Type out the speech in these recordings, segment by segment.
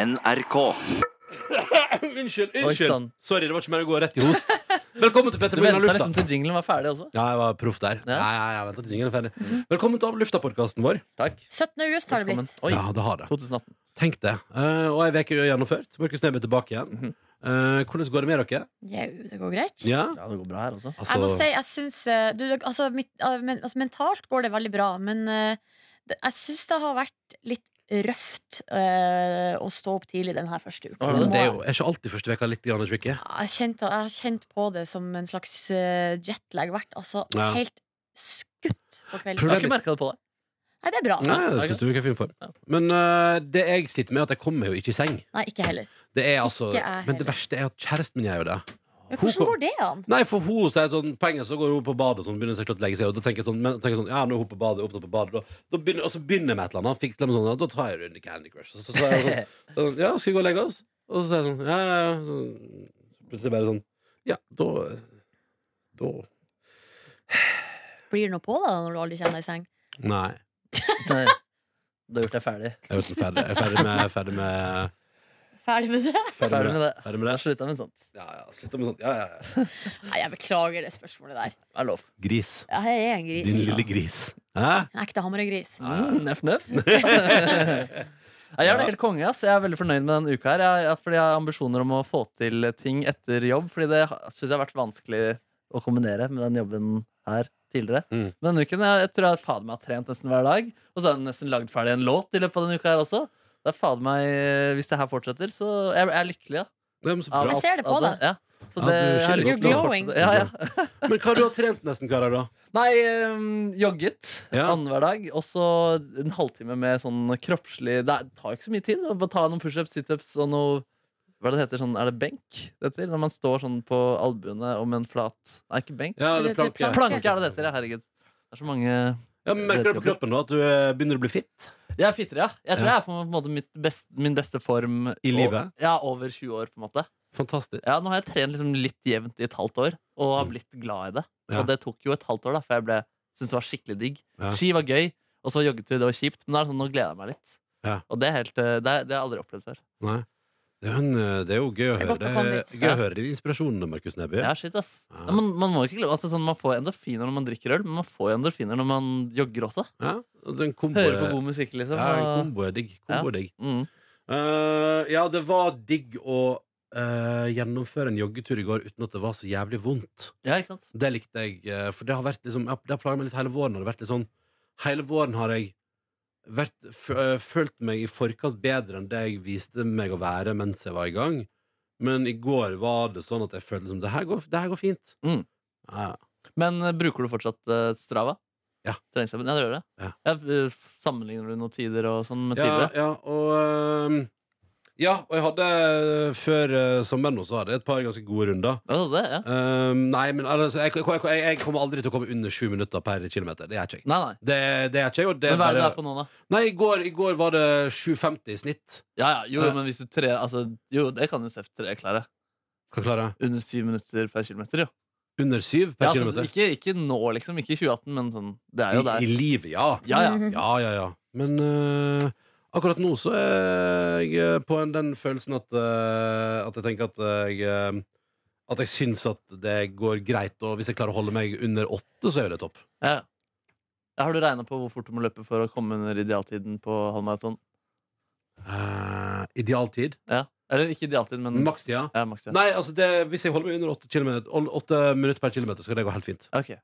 NRK. Unnskyld. Oi, unnskyld sann. Sorry, det var ikke mer å gå rett i host. Velkommen til Du Petter Morn av venta lufta. liksom til jinglen var ferdig også? Ja, jeg var proff der. Ja. Ja. Ja, ja, ventet til jingelen er ferdig. Velkommen til Av lufta-podkasten vår. Takk. 17. august har det Velkommen. blitt. Oi, Ja, det har det. 2018. Tenk det. Eh, og ei uke er gjennomført. Markus Neby er tilbake igjen. Mhm. Eh, hvordan går det med dere? Jau, det går greit. Ja, Ja, det går bra her også. altså Jeg må si, jeg syns eh, du, altså, mitt, eh, men, altså, Mentalt går det veldig bra, men eh, det, jeg syns det har vært litt røft eh, å stå opp tidlig den her første uka. Har Det du må Det er jeg- jo er ikke alltid første veka litt grann tricky. Jeg har kjent- jeg har kjent på det som en slags eh, jetlag. Vært altså Ja. helt skutt på kvelden. Jeg Problem- har ikke merka det på deg. Nei, det er bra. Nei, det synes du ikke er fin for. Ja. Men eh, det jeg sliter med, er at jeg kommer jo ikke i seng. Nei, ikke heller. Det er altså, Ikke jeg men det heller. verste er at kjæresten min gjør jo det. Men Hun kom- hvordan går det an? Nei, for hun sier sånn Penger så går hun på badet sånn, Begynner seg til å legge seg Og da tenker jeg sånn, men, tenker jeg sånn Ja, nå er hun på badet, opptatt på badet da, da begynner, Og så begynner jeg med et eller annet fikler med sånn, ja, Da tar jeg rundt i Candy Crush Så, så, så er jeg sånn, sånn, Ja, skal vi gå og legge oss? Og så sier jeg sånn Ja, ja, ja sånn, Plutselig bare sånn Ja, da Da Blir det noe på deg da, når du aldri kjenner deg i seng? Nei Nei. Du har gjort deg ferdig. Jeg er jo sånn ferdig Jeg er ferdig med Ferdig med Ferdig med det? Ferdig med det. Ferdig med det Slutta med sånt. Ja, ja, slutt med sånt Ja, ja, ja Nei, jeg beklager det spørsmålet der. Det er lov. Gris Jeg er en gris. Din lille gris Hæ? En ekte hamregris. Mm, Nøff, nøff. Ja, Jeg er det helt konge. ass Jeg er veldig fornøyd med denne uka. her jeg, jeg, Fordi jeg har ambisjoner om å få til ting etter jobb. Fordi det syns jeg har vært vanskelig å kombinere med den jobben her tidligere. Mm. Men denne uken jeg, jeg tror jeg fader meg har trent nesten hver dag. Og så har jeg nesten lagd ferdig en låt i løpet av denne uka her også. Det er fader meg, Hvis det her fortsetter, så jeg, jeg er lykkelig. Ja. Det er så Av- bra Jeg ser det på av deg. Ja. Så Ja, det, du jeg har skiller lyst ut til å nå. Glowing. fortsette. Ja, ja. Men hva har du trent nesten hver dag da? Nei, øhm, jogget Ja. annenhver dag. Og så en halvtime med sånn kroppslig Det er- tar jo ikke så mye tid. å Bare ta noen pushups, situps og noe Hva er det det heter? Sånn, er det benk? Det heter? Når man står sånn på albuene om en flat Nei, ikke benk. Ja, det er Det- det er planke Planke er det det heter, ja. Herregud. Det er så mange Ja, men Merker du på kroppen nå at du eh, begynner å bli fitt? Jeg er fitter, ja. Jeg tror Ja. jeg er på en måte mitt best, min beste form I o- livet? Ja, over 20 år, på en måte. Fantastisk. Ja, nå har jeg trent liksom litt jevnt i et halvt år, og har blitt glad i det. Mm. Ja. Og det tok jo et halvt år, da, for jeg ble, syntes det var skikkelig digg. Ja. Ski var gøy, og så joggetur, det var kjipt, men nå er det sånn, nå gleder jeg meg litt. Ja. Og det, er helt, eh, det, er, det har jeg aldri opplevd før. Nei. Det, er jo en, eh, det er jo gøy å Det er høre. godt å komme Det dit. er gøy å Ja. høre dine inspirasjoner, Markus Neby. Ja, shit, ass. Ja. Ja, man, man må ikke glemme, altså sånn, man får endorfiner når man drikker øl, men man får endorfiner når man jogger også. Ja, og Den kombo Hører på er- god musikk, liksom. ja, en og- kombo er digg. Kombo er digg. Mm. Eh, ja, det var digg å eh, gjennomføre en joggetur i går uten at det var så jævlig vondt. ja, ikke sant? Det likte jeg, eh, for det har vært liksom jeg har- Det har plaget meg litt hele våren. Har det vært litt sånn Hele våren har jeg vært, f eh, følt meg i forkant bedre enn det jeg viste meg å være mens jeg var i gang. Men i går var det sånn at jeg følte liksom Det her går, det her går fint. Mm. Ja, Men eh, bruker du fortsatt eh, Strava? Ja. Treningsappen? Ja, du gjør det? Ja. eh, f- sammenligner du noen tider og sånn med ja, tidligere? ja, og ehm, Ja, og jeg hadde eh, før eh, sommeren også hadde jeg et par ganske gode runder. Ja, det, ja. Ehm, nei, men altså, jeg, jeg, jeg, jeg kommer aldri til å komme under sju minutter per kilometer. Det er ikke jeg. Nei, nei. Det, det er ikke jeg, og det Men er hva er det du bare- er på nå, da? Nei, i går, i går var det 7,50 i snitt. Ja, ja, jo, Ja. men hvis du tre, altså, jo, det kan jo Seff3 klare. Hva klarer jeg? Under syv minutter per kilometer, jo. Under syv per Ja, altså, kilometer? ikke, ikke nå, liksom. Ikke i 2018, men sånn, det er I, jo I der. livet, ja. Ja, ja. Mhm. Ja, ja, ja. Men eh, akkurat nå så er jeg eh, på en, den følelsen at, eh, at jeg tenker at jeg eh, At jeg syns at det går greit, og hvis jeg klarer å holde meg under åtte, så er jo det topp. ja. ja har du regna på hvor fort du må løpe for å komme under idealtiden på halvmaraton? Eh, idealtid. Ja. Eller ikke idealtid, men Makstida. Ja, maks, Mm. ja. Nei, altså det, hvis jeg holder meg under åtte, kilometer, ol- åtte minutter per kilometer, skal det gå helt fint. Ok.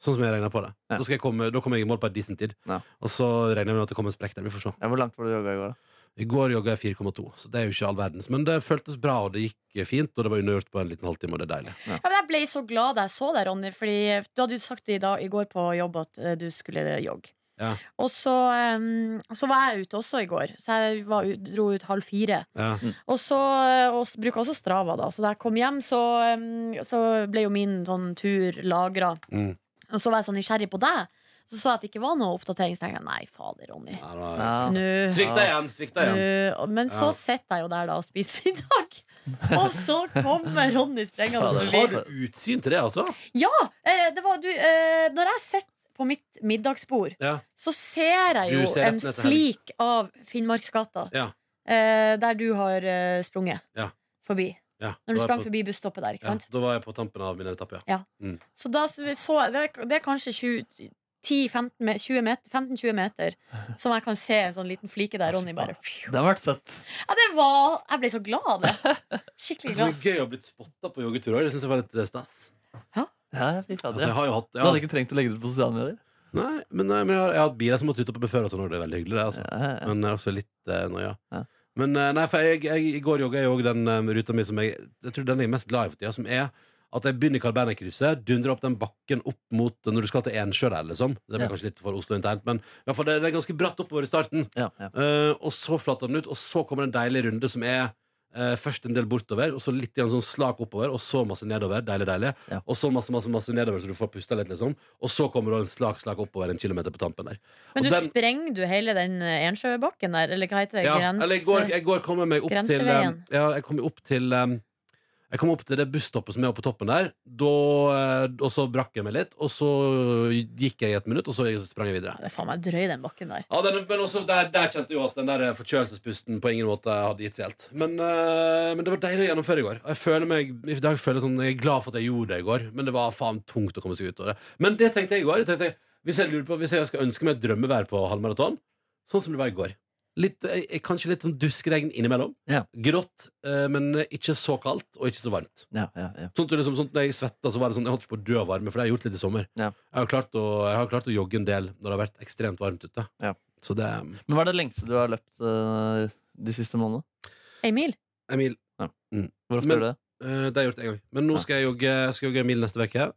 Sånn som jeg regner på det. Ja. Da, skal jeg komme, da kommer jeg i mål på en decent tid. Ja. Og så regner jeg med at det kommer en sprekk der. Vi får se. Ja, hvor langt var det du jogga i går, da? I går jogga jeg 4,2, så det er jo ikke all verdens. Men det føltes bra, og det gikk fint, og det var undergjort på en liten halvtime, og det er deilig. Ja, men jeg ble så glad da jeg så deg, Ronny, Fordi du hadde jo sagt i, dag, i går på jobb at eh, du skulle jogge. Ja. Og så, em, så var jeg ute også i går. Så jeg var, ut- dro ut halv fire. Ja. Og så eh, og s- bruker også Strava, da. Så da jeg kom hjem, så, em, så ble jo min sånn tur lagra. Mm. Og så var jeg så nysgjerrig på deg. Så sa jeg at det ikke var noe oppdatering. Så tenkte jeg nei, fader, Ronny. Ja, da- Ja. Nå Svikta igjen! Svikta igjen. Nå- Men så Ja. sitter jeg jo der da og spiser middag. Og så kommer Ronny sprengende Fader. forbi. Har du utsyn til det, altså? Ja! Eh, det var, du, eh, når jeg sitter på mitt middagsbord, Ja. så ser jeg Du jo ser rett en ned til helg. flik av Finnmarksgata. Ja. eh, der du har eh, sprunget Ja. forbi. Ja, Når da du er jeg sprang på- forbi busstoppet der. ikke ja, sant? da var jeg på tampen av min etappe, ja. Så da så, så- det, er, det er kanskje 20 10-15 me- 20 meter- 15-20 meter som jeg kan se en sånn liten flike der. Ronny bare Det har vært søtt. Ja, det var Jeg ble så glad av det. Det Skikkelig glad. er gøy å ha blitt spotta på joggetur òg. Det syns jeg var litt eh, stas. Ja, fy fader. Altså, jeg har jo hatt Du jeg har, hadde ikke trengt å legge det ut på sosiale medier. Nei, men, nei, men jeg har, jeg har hatt biler som har tuta på meg før, og sånn, og det er veldig hyggelig, det. altså Ja, ja. Men jeg er også litt uh, noia. Ja. Men eh, nei, for jeg, jeg, i går jogga jeg òg den eh, ruta mi som jeg Jeg tror den jeg er mest glad i for tida, som er at jeg begynner i Carl Berner-krysset, dundrer opp den bakken opp mot eh, når du skal til Ensjø der, liksom. Det Ja. blir kanskje litt for Oslo internt, men i hvert fall det, det er ganske bratt oppover i starten. Ja, ja. Eh, og så flater den ut, og så kommer det en deilig runde som er eh, først en del bortover, og så litt grann sånn slak oppover, og så masse nedover. Deilig, deilig. Ja. Og så masse, masse, masse nedover, så du får pusta litt, liksom. Og så kommer det en slak, slak oppover en kilometer på tampen der. Men Og du den- sprenger du hele den eh, Ensjøbakken der, eller hva heter det? Ja, Grense- eller i går, jeg går kom jeg meg opp til um, Grenseveien. Ja, jeg kom jo opp til um, Jeg kom opp til det busstoppet som er oppe på toppen der da, eh, Og så brakk jeg meg litt Og så gikk jeg i et minutt Og så sprang jeg videre Ja, det er faen meg drøy, den bakken der. ja, den, men også der, der kjente jeg jo at den der forkjølelsespusten på ingen måte hadde gitt seg helt. Men, eh, men det var deilig å gjennomføre i går. Jeg føler meg, i dag føler jeg sånn, jeg er glad for at jeg gjorde det i går, men det var faen tungt å komme seg ut av det. Men det tenkte jeg i går. Jeg tenkte, hvis, jeg lurer på, hvis jeg skal ønske meg et drømmevær på halvmaraton, sånn som det var i går. Litt, eh, kanskje litt sånn duskregn innimellom. Ja. Grått, eh, men ikke så kaldt og ikke så varmt. Ja, ja, ja. Sånn at du liksom, sånn, at når jeg svetta, så var det sånn Jeg holdt ikke på å dø av varme, for det har jeg gjort litt i sommer. Ja. Jeg, har klart å, jeg har klart å jogge en del når det har vært ekstremt varmt ute. Ja. Så det Men hva er det lengste du har løpt eh, de siste månedene? Ei mil? Emil, Hvor ofte Men- gjør du det? eh, det har jeg gjort én gang. Men nå skal jeg jogge, jeg skal jogge en mil neste uke.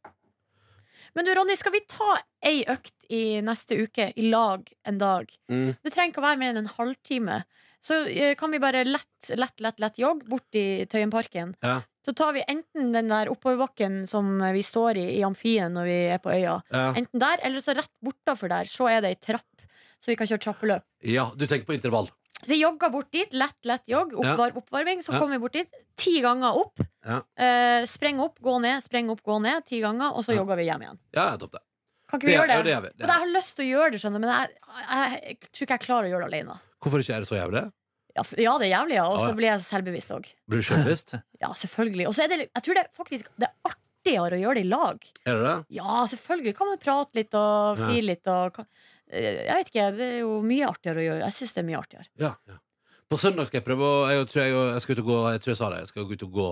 Men du, Ronny, skal vi ta ei økt i neste uke i lag en dag? Mm. Det trenger ikke å være mer enn en halvtime. Så eh, kan vi bare lett, lett, lett, lett jogge bort i Tøyenparken. Ja. Så tar vi enten den der oppoverbakken som vi står i i amfien når vi er på øya. Ja. Enten der, eller så rett bortafor der. Så er det ei trapp, så vi kan kjøre trappeløp. ja, du tenker på intervall. Så jeg jogga bort dit. Lett, lett jogg. Oppvar, oppvarming. Så Ja. kommer vi bort dit. Ti ganger opp. Ja. Eh, spreng opp, gå ned, spreng opp, gå ned. Ti ganger, og så Ja. jogger vi hjem igjen. Ja, topp det. Kan ikke vi ja, gjøre det? ja, det gjør vi. Det For jeg gjør vi. har lyst til å gjøre det, skjønner du, men jeg, jeg, jeg, tror ikke jeg klarer å gjøre det alene. Hvorfor ikke er det så jævlig? Ja, for- ja det er jævlig, ja. Og Ja, så ja. blir jeg så selvbevisst òg. Blir du sjølbevisst? Ja, selvfølgelig. Og så er det litt- Jeg tror det er faktisk det er artigere å gjøre det i lag. Er det det? Ja, selvfølgelig kan man prate litt og Ja. flire litt og kan- Eh, Jeg vet ikke, det er jo mye artigere å gjøre. Jeg syns det er mye artigere. Ja, ja. På søndag skal jeg prøve å Jeg tror jeg, jeg skal ut og gå Jeg tror jeg sa det. Jeg skal gå ut og gå,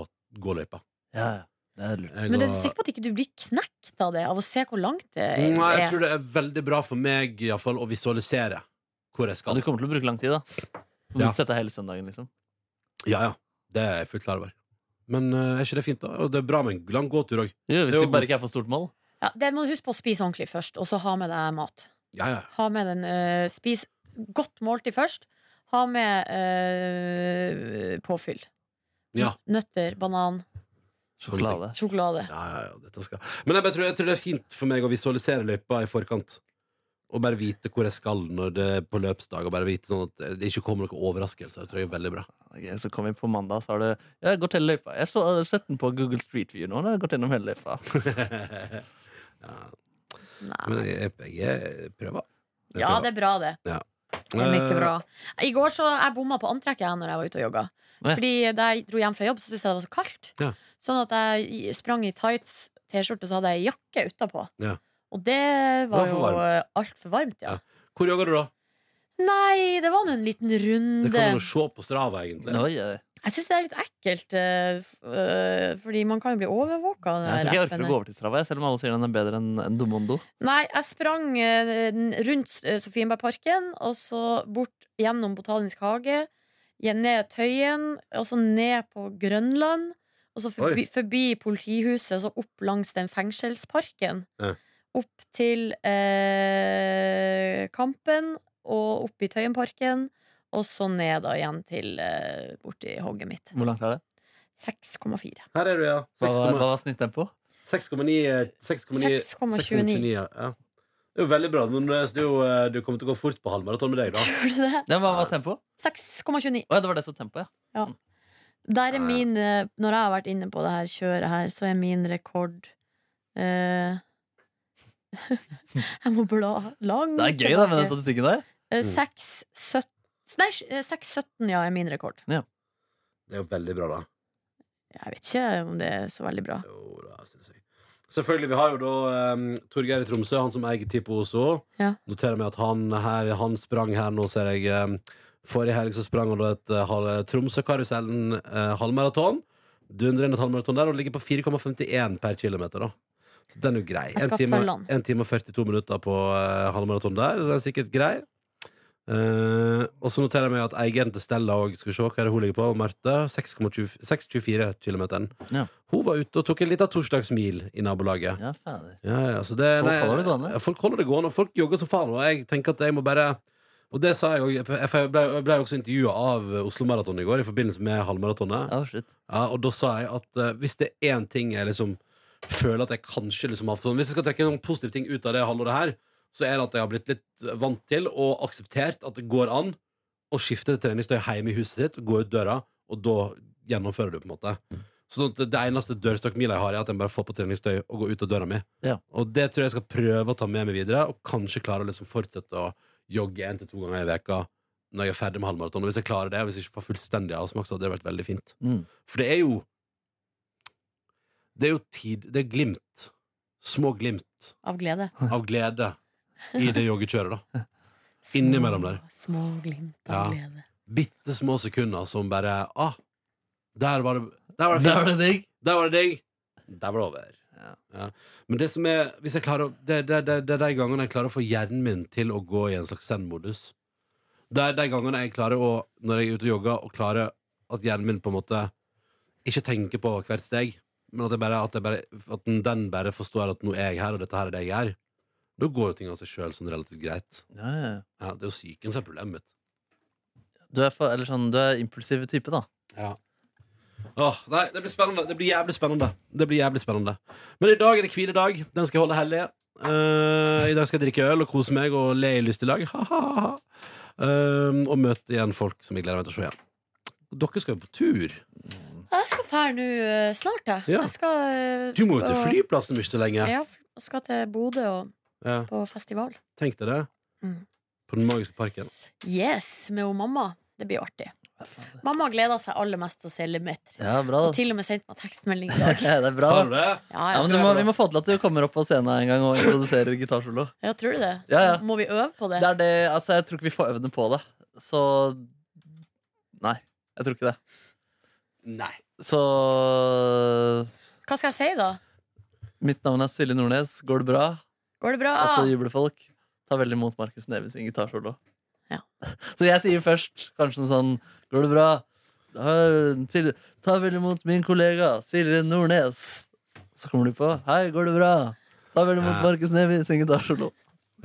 gå løypa. Ja, ja. Det er lurt. Jeg Men går- er du sikker på at ikke du blir knekt av det, av å se hvor langt det er? Nei, jeg tror det er veldig bra for meg i hvert fall, å visualisere hvor jeg Ja, skal. du kommer til å bruke lang tid, da. Du må Ja. sette hele søndagen, liksom. Ja, ja. Det er jeg fullt klar over. Men eh, er ikke det fint, da? Og det er bra med en lang gåtur òg. Jo, hvis Jo, det bare ikke er for stort mål. ja, det må du huske på å spise ordentlig først, og så ha med deg mat. Ja, ja. Ha med den, eh, spis godt måltid først. Ha med eh, påfyll. Ja. Nøtter, banan, Sånne ting. Sjokolade. sjokolade. Ja, ja, ja, dette skal. Men jeg, bare tror, jeg tror det er fint for meg å visualisere løypa i forkant. Og bare vite hvor jeg skal når det er på løpsdag. Og bare vite sånn at det ikke kommer noen overraskelser. Det tror jeg er veldig bra. Ok, så kom vi på mandag, så har du Ja, jeg går til løypa. Jeg så jeg har sett den på Google Street View nå. Nå har jeg gått gjennom hele løypa. Nei. Men jeg, jeg, jeg prøver. Jeg Ja, prøver. det er bra, det. Det Eh. er mye bra. I går så jeg bomma på antrekket jeg når jeg var ute og jogga. Ja. Fordi da jeg dro hjem fra jobb, så syntes jeg det var så kaldt. Ja. Sånn at jeg sprang i tights, T-skjorte, og så hadde jeg jakke utapå. Ja. Og det var var for jo varmt. altfor varmt, ja. Ja. Hvor jogger du, da? Nei, det var nå en liten runde. Det kan man jo se på Strava, egentlig. Oi, oi. Jeg syns det er litt ekkelt, eh, f- eh, fordi man kan jo bli overvåka. av den Jeg tror der ikke jeg orker appen å her. gå over til Strava, jeg, selv om alle sier den er bedre enn enn Domondo. Nei, jeg sprang eh, n- rundt eh, Sofienbergparken, og så bort gjennom Botanisk hage, gjen- ned Tøyen, og så ned på Grønland, og så forbi, Oi. forbi politihuset, og så opp langs den fengselsparken. Ja. Opp til eh, Kampen, og opp i Tøyenparken, og så ned da igjen til eh, borti hogget mitt. Hvor langt er det? 6,4. Her er du, ja. Hva var, 6,9 hva var snittempo? 6,9 6,29, ja. ja. Det er jo veldig bra, men det er jo, eh, du kommer til å gå fort på halvmaraton med deg, da. Tror du det? Ja, hva var tempo? 6,29. Å ja, det var det som tempo, ja. Der Ja, er ja. min eh, Når jeg har vært inne på det her kjøret her, så er min rekord eh, Jeg må bla langt. Det er gøy da med den tilbake. altså- statistikken der. Eh, seks, søtt- Så Nei, 6.17 ja, er min rekord. Det er jo veldig bra, da. Jeg vet ikke om det er så veldig bra. Jo da, synes jeg. Selvfølgelig, vi har jo da um, Torgeir i Tromsø, han som eier Tipo også. Ja. Noterer meg at han, her, han sprang her nå, ser jeg. em, forrige helg så sprang han da et eh, halv- Tromsøkarusellen eh, halvmaraton. Dundrer inn et halvmaraton der og ligger på 4,51 per kilometer, da. Så den er jo grei. Jeg En skal time, følge han. en time og 42 minutter på eh, halvmaraton der, så den er sikkert grei. Eh, og så noterer jeg meg at eieren til Stella òg skal vi se hva er det hun ligger på. Marte. 6,20 6,24 km. Ja. Hun var ute og tok en liten torsdagsmil i nabolaget. Ja, fader. Ja, ja, så det, Folk holder det gående. ja, Folk holder det gående, og folk jogger som faen. Og jeg tenker at jeg må bare Og det sa jeg òg. Jeg ble, jeg ble også intervjua av Oslo Maraton i går i forbindelse med halvmaratonet. Oh, shit. Ja, og da sa jeg at eh, hvis det er én ting jeg liksom føler at jeg kanskje liksom har sånn, Hvis jeg skal trekke noen positive ting ut av det halvåret her, så er det at jeg har blitt litt vant til og akseptert at det går an å skifte til treningstøy hjemme i huset sitt, gå ut døra, og da gjennomfører du, på en måte. Sånn at det eneste dørstokkmila jeg har, er at jeg bare får på treningstøy og går ut av døra mi. Ja. Og det tror jeg jeg skal prøve å ta med meg videre, og kanskje klare å liksom fortsette å jogge én til to ganger i veka når jeg er ferdig med halvmaraton. Og hvis jeg klarer det, og hvis jeg ikke får fullstendig avsmak, så hadde det vært veldig fint. Mm. For det er jo Det er jo tid Det er glimt Små glimt Av glede. av glede I det joggekjøret da Innimellom der. Små glimt av Ja. glede. Bittesmå sekunder som bare Ah, der var det Der var det Der var fint det digg. Der var det digg Der var det over Ja. ja. Men det som er Hvis jeg klarer å Det det- det- det er de gangene jeg klarer å få hjernen min til å gå i en slags send-modus Det er de gangene jeg klarer å Når jeg er ute og jogger og klarer At hjernen min på en måte Ikke tenker på hvert steg Men at, jeg bare, at, jeg bare, at den- den bare forstår at nå er jeg her Og dette her er det jeg gjør Da går jo ting av seg selv sånn relativt greit Ja, ja. ja. ja, Det er jo syken som er problemet mitt Du er, for, eller sånn, du er impulsiv type, da. Ja. Åh, nei, det blir spennende. Det blir jævlig spennende. Det blir jævlig spennende. Men i dag er det hviledag. Den skal jeg holde hellig. Eh, I dag skal jeg drikke øl og kose meg og le i lystig lag. Ha, ha, ha, ha. Eh, og møte igjen folk som jeg gleder meg til å se igjen. Dere skal jo på tur. Jeg skal fære nå eh, snart, jeg. Ja. jeg skal, eh, Du må jo til og- flyplassen om ikke så lenge. Ja, og skal til Bodø og Ja, på festival. tenk deg det. Mm. På Den magiske parken. Yes, med hun mamma. Det blir artig. Mamma gleder seg aller mest til å se Lemaitre. Ja, bra, Og da. til og med sendt meg tekstmelding i dag. det er bra, Har da. du det? Ja, Ja, jeg, men du må, vi må få til at du kommer opp på scenen en gang og introduserer gitarsolo. ja, tror du det? Ja, ja. Må vi øve på det? Det er det, altså, jeg tror ikke vi får øvd på det. Så Nei, jeg tror ikke det. Nei. Så Hva skal jeg si, da? Mitt navn er Silje Nordnes. Går det bra? Går det bra? Og så jubler folk. Ta veldig imot Markus Neve sin gitarsolo. Ja. Så jeg sier først kanskje noe sånn Går det bra? «Ja, Silje- Ta vel imot min kollega Silje Nordnes. Så kommer de på. Hei, går det bra? Ta vel imot Ja. Markus Neby sin gitarsolo.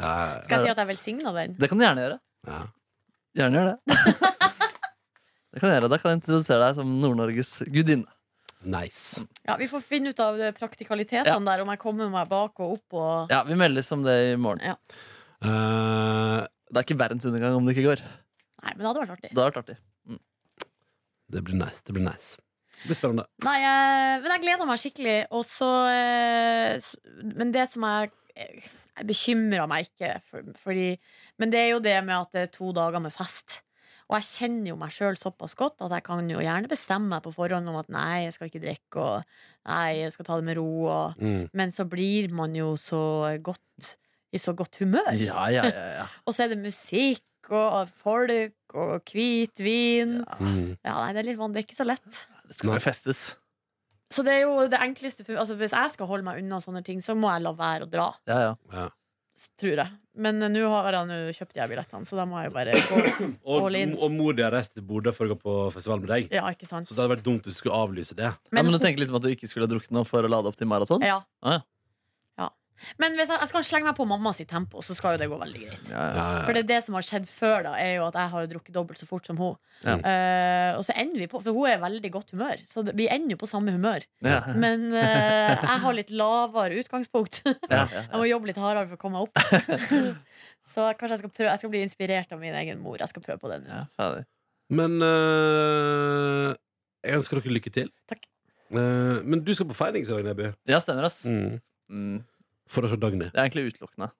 Ja, Skal jeg si at jeg velsigna den? Det kan du gjerne gjøre. ja. Gjerne gjør det. det kan jeg gjøre. Da kan jeg introdusere deg som Nord-Norges gudinne. Nice. Ja, Vi får finne ut av det praktikalitetene Ja. der, om jeg kommer meg bak og opp og Ja, Vi meldes om det i morgen. Eh, Det er ikke verdens undergang om det ikke går. Det Nei, men det hadde vært artig. hadde vært artig. det blir nice. Det blir nice. Det blir spennende. Nei, jeg, men jeg gleder meg skikkelig. Og så eh, s- Men det som jeg eh, Jeg bekymrer meg ikke, for, fordi Men det er jo det med at det er to dager med fest. Og jeg kjenner jo meg sjøl såpass godt at jeg kan jo gjerne bestemme meg på forhånd om at nei, jeg skal ikke drikke, og nei, jeg skal ta det med ro, og Mm. Men så blir man jo så godt i så godt humør. Ja, ja, ja, ja. Og så er det musikk. Og folk og hvit vin. Ja. Mm. nei, det er litt vanlig. Det er ikke så lett. Det skal jo festes. Så det er jo det enkleste for, altså Hvis jeg skal holde meg unna sånne ting, så må jeg la være å dra. Ja, ja. Ja. s- Tror jeg. Men eh, nå har jeg nå kjøpt de her billettene, så da må jeg jo bare gå. Og, All in. og Modi har reist til Bodø for å gå på festival med deg. Ja, ikke sant? Så det hadde vært dumt hvis du skulle avlyse det. Men, ja, Men, Eh, men du tenker liksom at du ikke skulle ha drukket noe for å lade opp til maraton? ja. Ah, ja. Ja. Men hvis jeg, jeg skal slenge meg på mamma sitt tempo, så skal jo det gå veldig greit. Ja, ja. For det er det som har skjedd før, da, er jo at jeg har jo drukket dobbelt så fort som hun. Ja. Eh, og så ender vi på For hun er i veldig godt humør, så det, vi ender jo på samme humør. Ja, ja, Men eh, jeg har litt lavere utgangspunkt. ja, Jeg må jobbe litt hardere for å komme meg opp. Så kanskje jeg skal, prøve, jeg skal bli inspirert av min egen mor. Jeg skal prøve på det nå. ja. fader. Men eh, jeg ønsker dere lykke til. Takk. Eh, men du skal på feiring i dag, Neby. ja stemmer, ass. Mm. For å se Dagny. Det er egentlig utelukkende.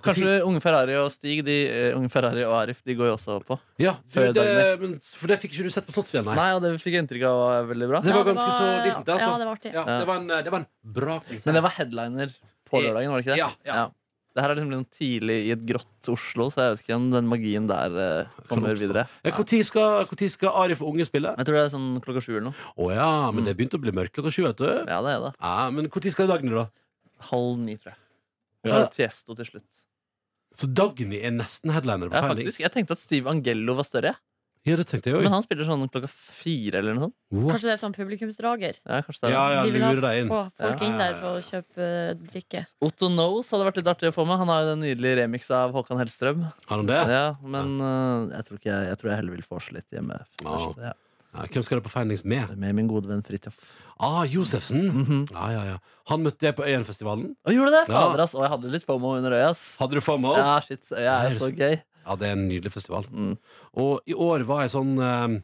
Kanskje Unge Ferrari og Stig de, eh, Unge Ferrari og Arif de går jo også på. Ja, du, Før det, dagen men, for det fikk ikke du sett på Slottsfjell, nei. Nei, og det fikk jeg inntrykk av var veldig bra. Det var Ja, det ganske var- så decent, det, ja, altså. det var artig. Ja, det var en, det var en bra Men det konsert. var headliner på lørdagen, var det ikke det? Ja, ja. Det her er liksom litt tidlig i et grått Oslo, så jeg vet ikke om den magien der eh, kommer oppstå. videre. Ja, Når skal, hvor tid skal Arif og Unge spille? Jeg tror det er sånn klokka sju eller noe. Å ja, Mm. men det begynte å bli mørkt klokka sju, vet du. Ja, det er det. Ja, men når skal Dagny, da? Halv ni, tror jeg. Og så Ja. er det Tiesto til slutt. Så Dagny er nesten headliner på Ja, Felix? faktisk, jeg tenkte at Steve Angello var større, jeg. Ja, det tenkte jeg men òg. han spiller sånn klokka fire eller noe sånt. Kanskje det er sånn publikumsdrager. Ja, kanskje det er Ja, ja, De vil lurer deg ha inn. få folk Ja. inn der for å kjøpe eh, drikke. det. Otto Knows hadde vært litt artig å få med. Han har jo den nydelige remix av Håkan Hellstrøm. Har han det? Ja, men eh, jeg, tror ikke jeg, jeg tror jeg heller vil forse litt hjemme. Ja. Ja. Ja, hvem skal det på Felix med? Med min gode venn Fridtjof. Ah, Josefsen. Mhm. Ja, ja, ja. Han møtte jeg på Øyenfestivalen. Og gjorde det! Ja. Fader, ass. Og jeg hadde litt FOMO under øyet, ass. Hadde du FOMO? Ja. Ja, shit. Øya er jo så gøy. ja, det er en nydelig festival. Mm. Og i år var jeg sånn eh,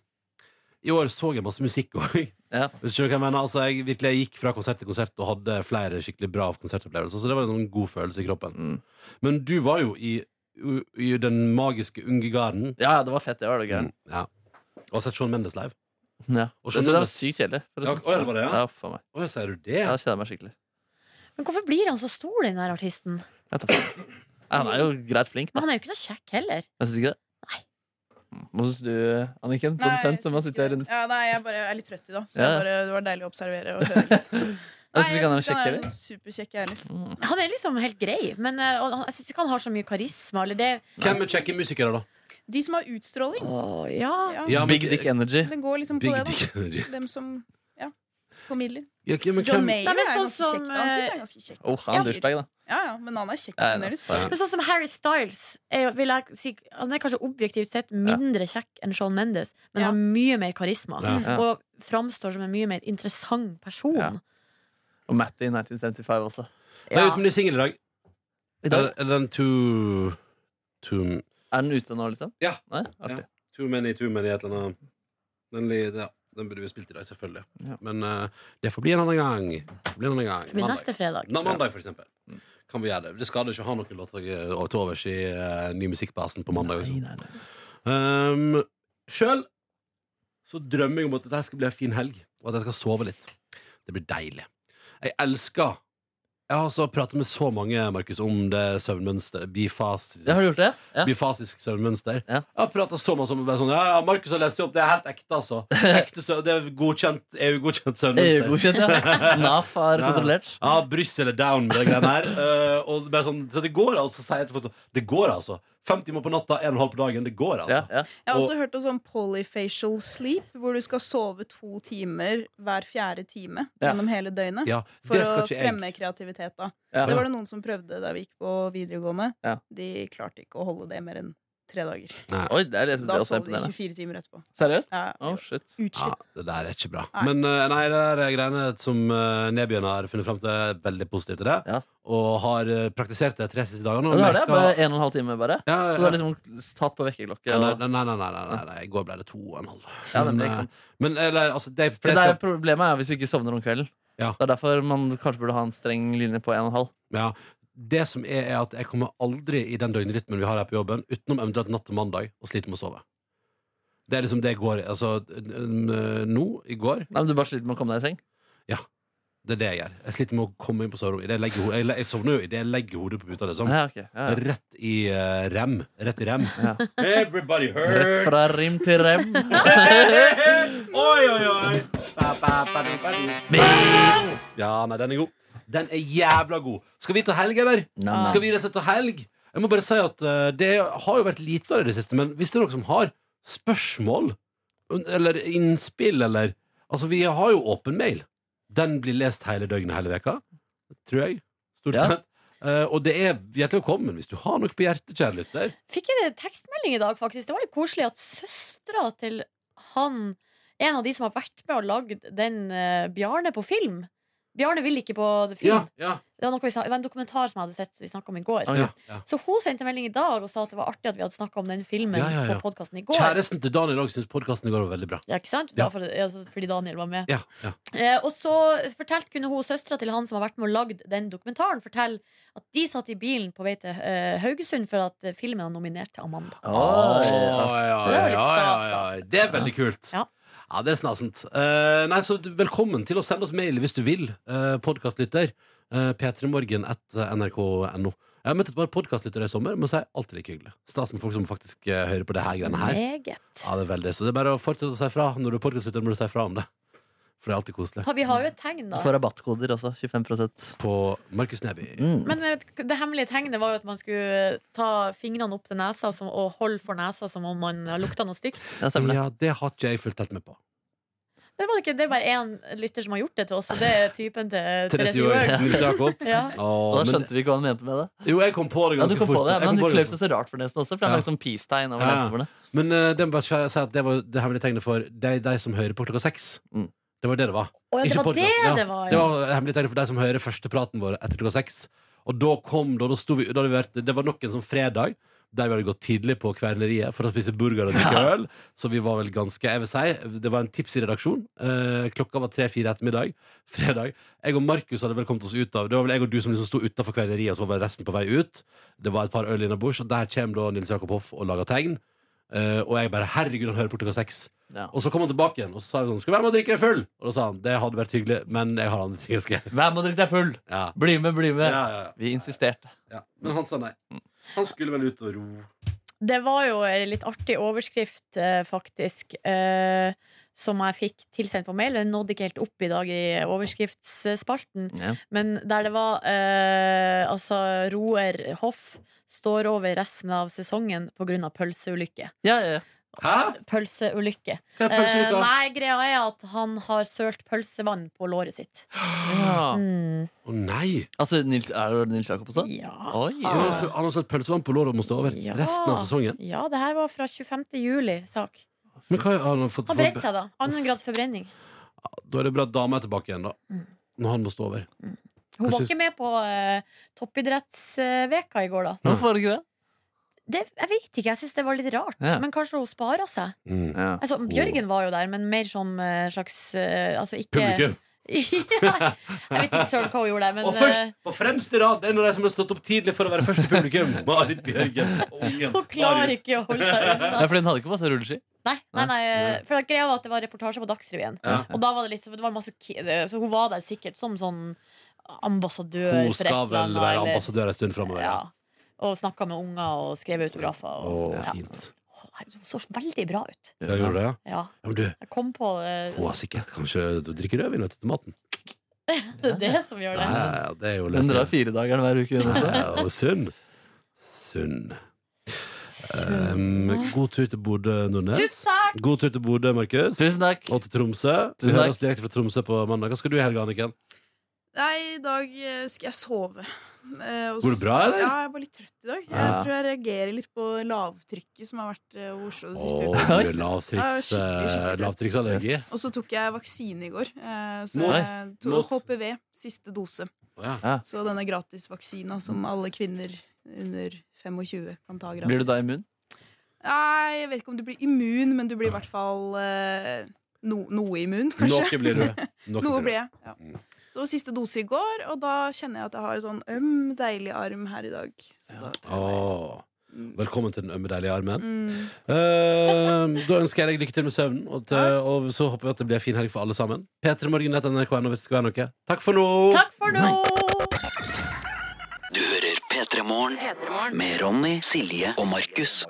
I år så jeg masse musikk òg. Ja. Hvis du skjønner hva jeg mener. Altså, jeg virkelig jeg gikk fra konsert til konsert og hadde flere skikkelig bra konsertopplevelser. Så det var en sånn god følelse i kroppen. Mm. Men du var jo i, u- i den magiske unge garden. ja, ja, det var fett. Det var det gøy. Ja. Og har sett Sean Mendes live. Mm. Ja. Og så Jeg synes nå- det var sykt kjedelig. forresten. Ja, å, ja, det var det, ja. ja, faen meg. Å, sier du det? Ja, Jeg kjeder meg skikkelig. Men hvorfor blir han så stor, den der artisten? Jeg tar faen. Ja, han er jo greit flink, da. Men han er jo ikke så kjekk heller. Jeg syns ikke det. Nei. Mm. Hva syns du, Anniken? Nei, jeg Produsent som har synes sittet her ikke- rundt. Ja, nei, jeg, bare, jeg er litt trøtt i dag, så Ja. jeg bare, det var deilig å observere og høre litt. Jeg syns ikke han er synes kjekkere. en superkjekk jeg, ærlig. Mm. Han er liksom helt grei, men eh, og han- jeg syns ikke han har så mye karisma. Eller det Hvem er kjekke musikere, da? De som har utstråling. Åh, ja. Ja, Ja, men- Big Dick Energy. Den går liksom Big på det, da. Dick Energy. Dem som ja, formidler. Ja, men John hvem- Mayer Nei, men er sånn ganske som, kjekk. da. Han synes jeg er ganske kjekk. Oh, han er en Ja. douchebag, da. Ja, ja, men han er kjekk Ja, fremdeles. altså. Men sånn som Harry Styles er jo, vil jeg si, Han er kanskje objektivt sett mindre kjekk enn Shawn Mendes, men Ja. har mye mer karisma. Ja. Ja. Og framstår som en mye mer interessant person. Ja. Og Matty i 1975 også. Nei, Ja. uten ny singel i dag. I Er, dag er den too, too Er den ute nå, liksom? Ja. Nei? Artig. Too many, too many, et eller annet. Den, li- ja, den burde vi spilt i dag, selvfølgelig. Ja. Men eh, det får bli en annen gang. Det får bli en annen gang. Det blir neste fredag. Na, mandag, for eksempel. Kan vi gjøre det. Det skader ikke å ha noen låter eh, og til overs i eh, ny musikk på Asen på mandag også. Nei, nei, nei. Um, Sjøl så drømmer jeg om at dette her skal bli en fin helg, og at jeg skal sove litt. Det blir deilig. Jeg elsker Jeg har altså pratet med så mange, Markus, om det søvnmønster Bifasisk, Ja, har du gjort det? Ja. bifasisk søvnmønster. Ja. Jeg har prata så mye om det. bare Sånn, ja, ja, Markus har lest det opp. Det er helt ekte, altså. Ekte søvn, det er godkjent, EU-godkjent søvnmønster. EU-godkjent, Eh, ja. NAF har Ja. kontrollert. Ja, Brussel er down med de greiene her. Eh, og bare sånn, så det går altså, sier jeg til folk sånn. Det går altså. Fem timer på natta, en og en halv på dagen. Det går altså. Ja, ja. Jeg har også hørt om sånn polyfacial sleep, hvor du skal sove to timer hver fjerde time Ja. gjennom hele døgnet. Ja, For det skal å ikke jeg. fremme kreativitet, da. Ja. Det var det noen som prøvde da vi gikk på videregående. Ja. De klarte ikke å holde det mer enn tre dager. Oi, det er det, jeg synes det Da også er sov de imponerende. 24 timer etterpå. Seriøst? Ja, Oh, shit. Ja, Utskitt. det der er ikke bra. Nei. Men eh, nei, det der er greiene som uh, Nebyen har funnet fram til, er veldig positivt til det. Ja. Og har eh, praktisert det tre siste dagene. Ja, Og du har det? merket- Bare en og en halv time, bare? ja, Så du ja. har liksom tatt på vekkerklokke? Nei, Og... nei, nei, nei, nei, nei, nei, nei. I går ble det to og en halv. Ja, nemlig, ikke sant? Men eller, altså, det, For det det er skal, problemet er hvis du ikke sovner om kvelden. Ja. Det er derfor man kanskje burde ha en streng linje på en og en halv. ja, det som er, er at jeg kommer aldri i den døgnrytmen vi har her på jobben, utenom eventuelt natt til mandag, og sliter med å sove. Det er liksom det går Altså, n- n- nå, i går, Nei, men Du bare sliter med å komme deg i seng. det er det jeg gjør. Jeg sliter med å komme inn på soverommet. I det Jeg, legger ho- jeg, le- jeg sovner jo idet jeg legger hodet på puta, liksom. Ja, ok. ja, ja. Rett i eh, rem. Rett i rem. Ja. Everybody Rett hurt! fra rim til rem. oi, oi, oi! Ba, ba, ba, du, ba, du. Ja, nei, den er god. Den er jævla god. Skal vi ta helg, eller? Nam, nam. Skal vi rett og slett ta helg? Jeg må bare si at eh, det har jo vært lite av det i det siste, men hvis det er noen som har spørsmål eller innspill eller Altså, vi har jo åpen mail. Den blir lest hele døgnet hele veka, tror jeg. Stort Ja. sett. Eh, og det er hjertelig velkommen hvis du har noe på hjertet, kjære lytter. Fikk jeg en tekstmelding i dag, faktisk. Det var litt koselig at søstera til han, en av de som har vært med og lagd den eh, Bjarne på film, Bjarne vil ikke på det film. Ja, ja, Det, var noe vi, snak- det var en dokumentar som jeg hadde sett vi snakka om i går. Ah, ja, ja. Så hun sendte en melding i dag og sa at det var artig at vi hadde snakka om den filmen Ja, ja, ja. på podkasten i går. Kjæresten til Daniel òg syns podkasten i går var veldig bra. Ja, ikke sant? Ja. Da for, altså, fordi Daniel var med. Ja, ja. Eh, og så fortalte kunne hun søstera til han som har vært med og lagd den dokumentaren, fortelle at de satt i bilen på vei til eh, Haugesund for at eh, filmen var nominert til Amanda. Oi, ja, Ah, ja. ja, Det er jo litt ja, stas, ja, da. ja. Det er veldig kult. Ja. Ja, det er snasent. Eh, nei, så du- velkommen til å sende oss mail hvis du vil, uh, podkastlytter. Uh, p3morgen.nrk.no. eh, Jeg har møtt et par podkastlyttere i sommer, men så er det alltid like hyggelig. Stas med folk som faktisk eh, hører på det her greiene her. Meget. Ja, det er veldig. Så det er bare å fortsette å si fra. Når du er podkastlytter, må du si fra om det. For det er alltid koselig. Ha- Vi har jo et tegn, da. Får rabattkoder også. 25 På Markus Neby. mm. Men eh, det hemmelige tegnet var jo at man skulle eh, ta fingrene opp til nesa som, og holde for nesa som om man har lukta noe stygt. Ja, stemmer det. Ja, det har ikke jeg fulgt helt med på. Det, var det ikke, det er bare én lytter som har gjort det til oss, og det er typen til eh, Therese Therese Johaug, Johaug. Nils Jakob. Ja. Åh, Og da men, skjønte vi ikke hva han mente med det. jo, jeg kom på det Ja, du ganske kom på fort. det, Jeg kom Men du på det kløp ganske seg så rart for nesen også, for han Ja. lagde sånn peace-tegn over Ja. neseborene. Men eh, det må bare si si at det var det hemmelige tegnet for de, de som hører på klokka seks. Mm. Det var det det var. Å, ja, Ikke det var det podcasten, ja. det var, Det ja. var hemmelig tegnet for de som hører første praten vår etter klokka seks. Og da kom da, da sto vi, da hadde vi vært, Det var nok en sånn fredag der vi hadde gått tidlig på kverneriet for å spise burger og drikke øl. Så vi var vel ganske jeg vil si, Det var en tips i redaksjon. Eh, klokka var tre-fire ettermiddag. Fredag. Jeg og Markus hadde vel kommet oss ut av Det var vel jeg og du som liksom sto utafor kverneriet, og så var vel resten på vei ut. Det var et par øl innabords, og der kommer da Nils Jakob Hoff og lager tegn. Eh, og jeg bare 'Herregud, han hører på klokka seks'. Ja. Og så kom han tilbake igjen og så sa vi sånn 'Skal vi være med og drikke deg full?' Og da sa han 'Det hadde vært hyggelig, men jeg har andre ting jeg skal gjøre'. Vær med og drikk deg full! Ja. Bli med, bli Ja, med! ja, ja. Vi insisterte. ja. Men han sa nei. Han skulle vel ut og ro. Det var jo en litt artig overskrift, eh, faktisk, eh, som jeg fikk tilsendt på mail. Den nådde ikke helt opp i dag i overskriftsspalten. Ja. Men der det var eh, altså Roer Hoff står over resten av sesongen pga. pølseulykke. Ja, ja, ja. Hæ? Pølseulykke. Hva er Eh, pølseulykke? nei, greia er at han har sølt pølsevann på låret sitt. ja. Mm. Å nei! Altså, Nils, er det Nils Jakob også? Ja. Oi! Han har slått- han har slått pølsevann på låret og må stå over Ja. resten av sesongen. ja, det her var fra 25. juli-sak. Men hva har han fått Han brente seg, da. Annen grads forbrenning. Da er det bra at dama er tilbake igjen, da. Mm. Når han må stå over. Hun var Kanskje- ikke med på eh, toppidrettsveka i går, da. Hvorfor var det ikke det? Det, jeg vet ikke, jeg syns det var litt rart. Ja. Men kanskje hun spara seg. Mm. Altså, Bjørgen var jo der, men mer som eh, slags eh, Altså ikke Publikum. Nei, jeg vet ikke søren hva hun gjorde der, men eh, og først, på fremste rad er en av de som har stått opp tidlig for å være første publikum. Marit Bjørgen og eh, ungen hun klarer Marius. ikke å holde seg Nei, unna. fordi den hadde ikke masse rulleski. Nei, nei, nei, eh, for greia var at det var reportasje på Dagsrevyen. Ja. Og da var det litt så- for det var masse ki det- Så hun var der sikkert som sånn ambassadør Hun for et skal eller vel annet, være eller- ambassadør en stund framover. Ja. Og snakka med unger og skrev autografer. Og, Å, ja. fint. Å, herregud, Hun så veldig bra ut. Ja, gjorde du det, ja? Ja, ja men du, jeg kom på eh, hun har sikkert kanskje Du drikker rødvin vet du, til maten. det, er det som Ja, gjør det. ja, ja, det er jo Den drar løsningen. firedageren hver uke. hun Ja, også. ja, og sunn. Sunn. Um, god tur til Bodø, Nordnes. Tusen takk! God tur til Bodø, Markus. Tusen takk! Og til Tromsø. Vi Tusen takk. høres direkte fra Tromsø på mandag. Hva skal du i helga, Anniken? Nei, i dag eh, skal jeg sove. Eh, og Går det s- bra, eller? Ja, jeg er bare litt trøtt i dag. Jeg Ja. tror jeg reagerer litt på lavtrykket som har vært eh, over Oslo det siste Åh, uka. du er lavtrykks, Ja, skikkelig, skikkelig eh, trøtt. lavtrykksallergi. Yes. Og så tok jeg vaksine i går. eh, Så Mot- jeg mot- tok HPV, siste dose. Å, ja. Så denne gratisvaksina som alle kvinner under 25 kan ta gratis. Blir du da immun? Nei, jeg vet ikke om du blir immun, men du blir i hvert fall eh, no, noe immun, kanskje. Noe blir du. Noe Noe blir du. ble jeg. Ja. Mm. Så siste dose i går, og da kjenner jeg at jeg har en sånn øm, deilig arm her i dag. Så da Åh, Mm. Velkommen til den ømme, deilige armen. Mm. Eh, da ønsker jeg deg lykke til med søvnen, og, til, og så håper vi at det blir en fin helg for alle sammen. P3morgen.nrk.no hvis det skal være noe. Takk for nå! Takk for nå! Du hører P3 Morgen med Ronny, Silje og Markus.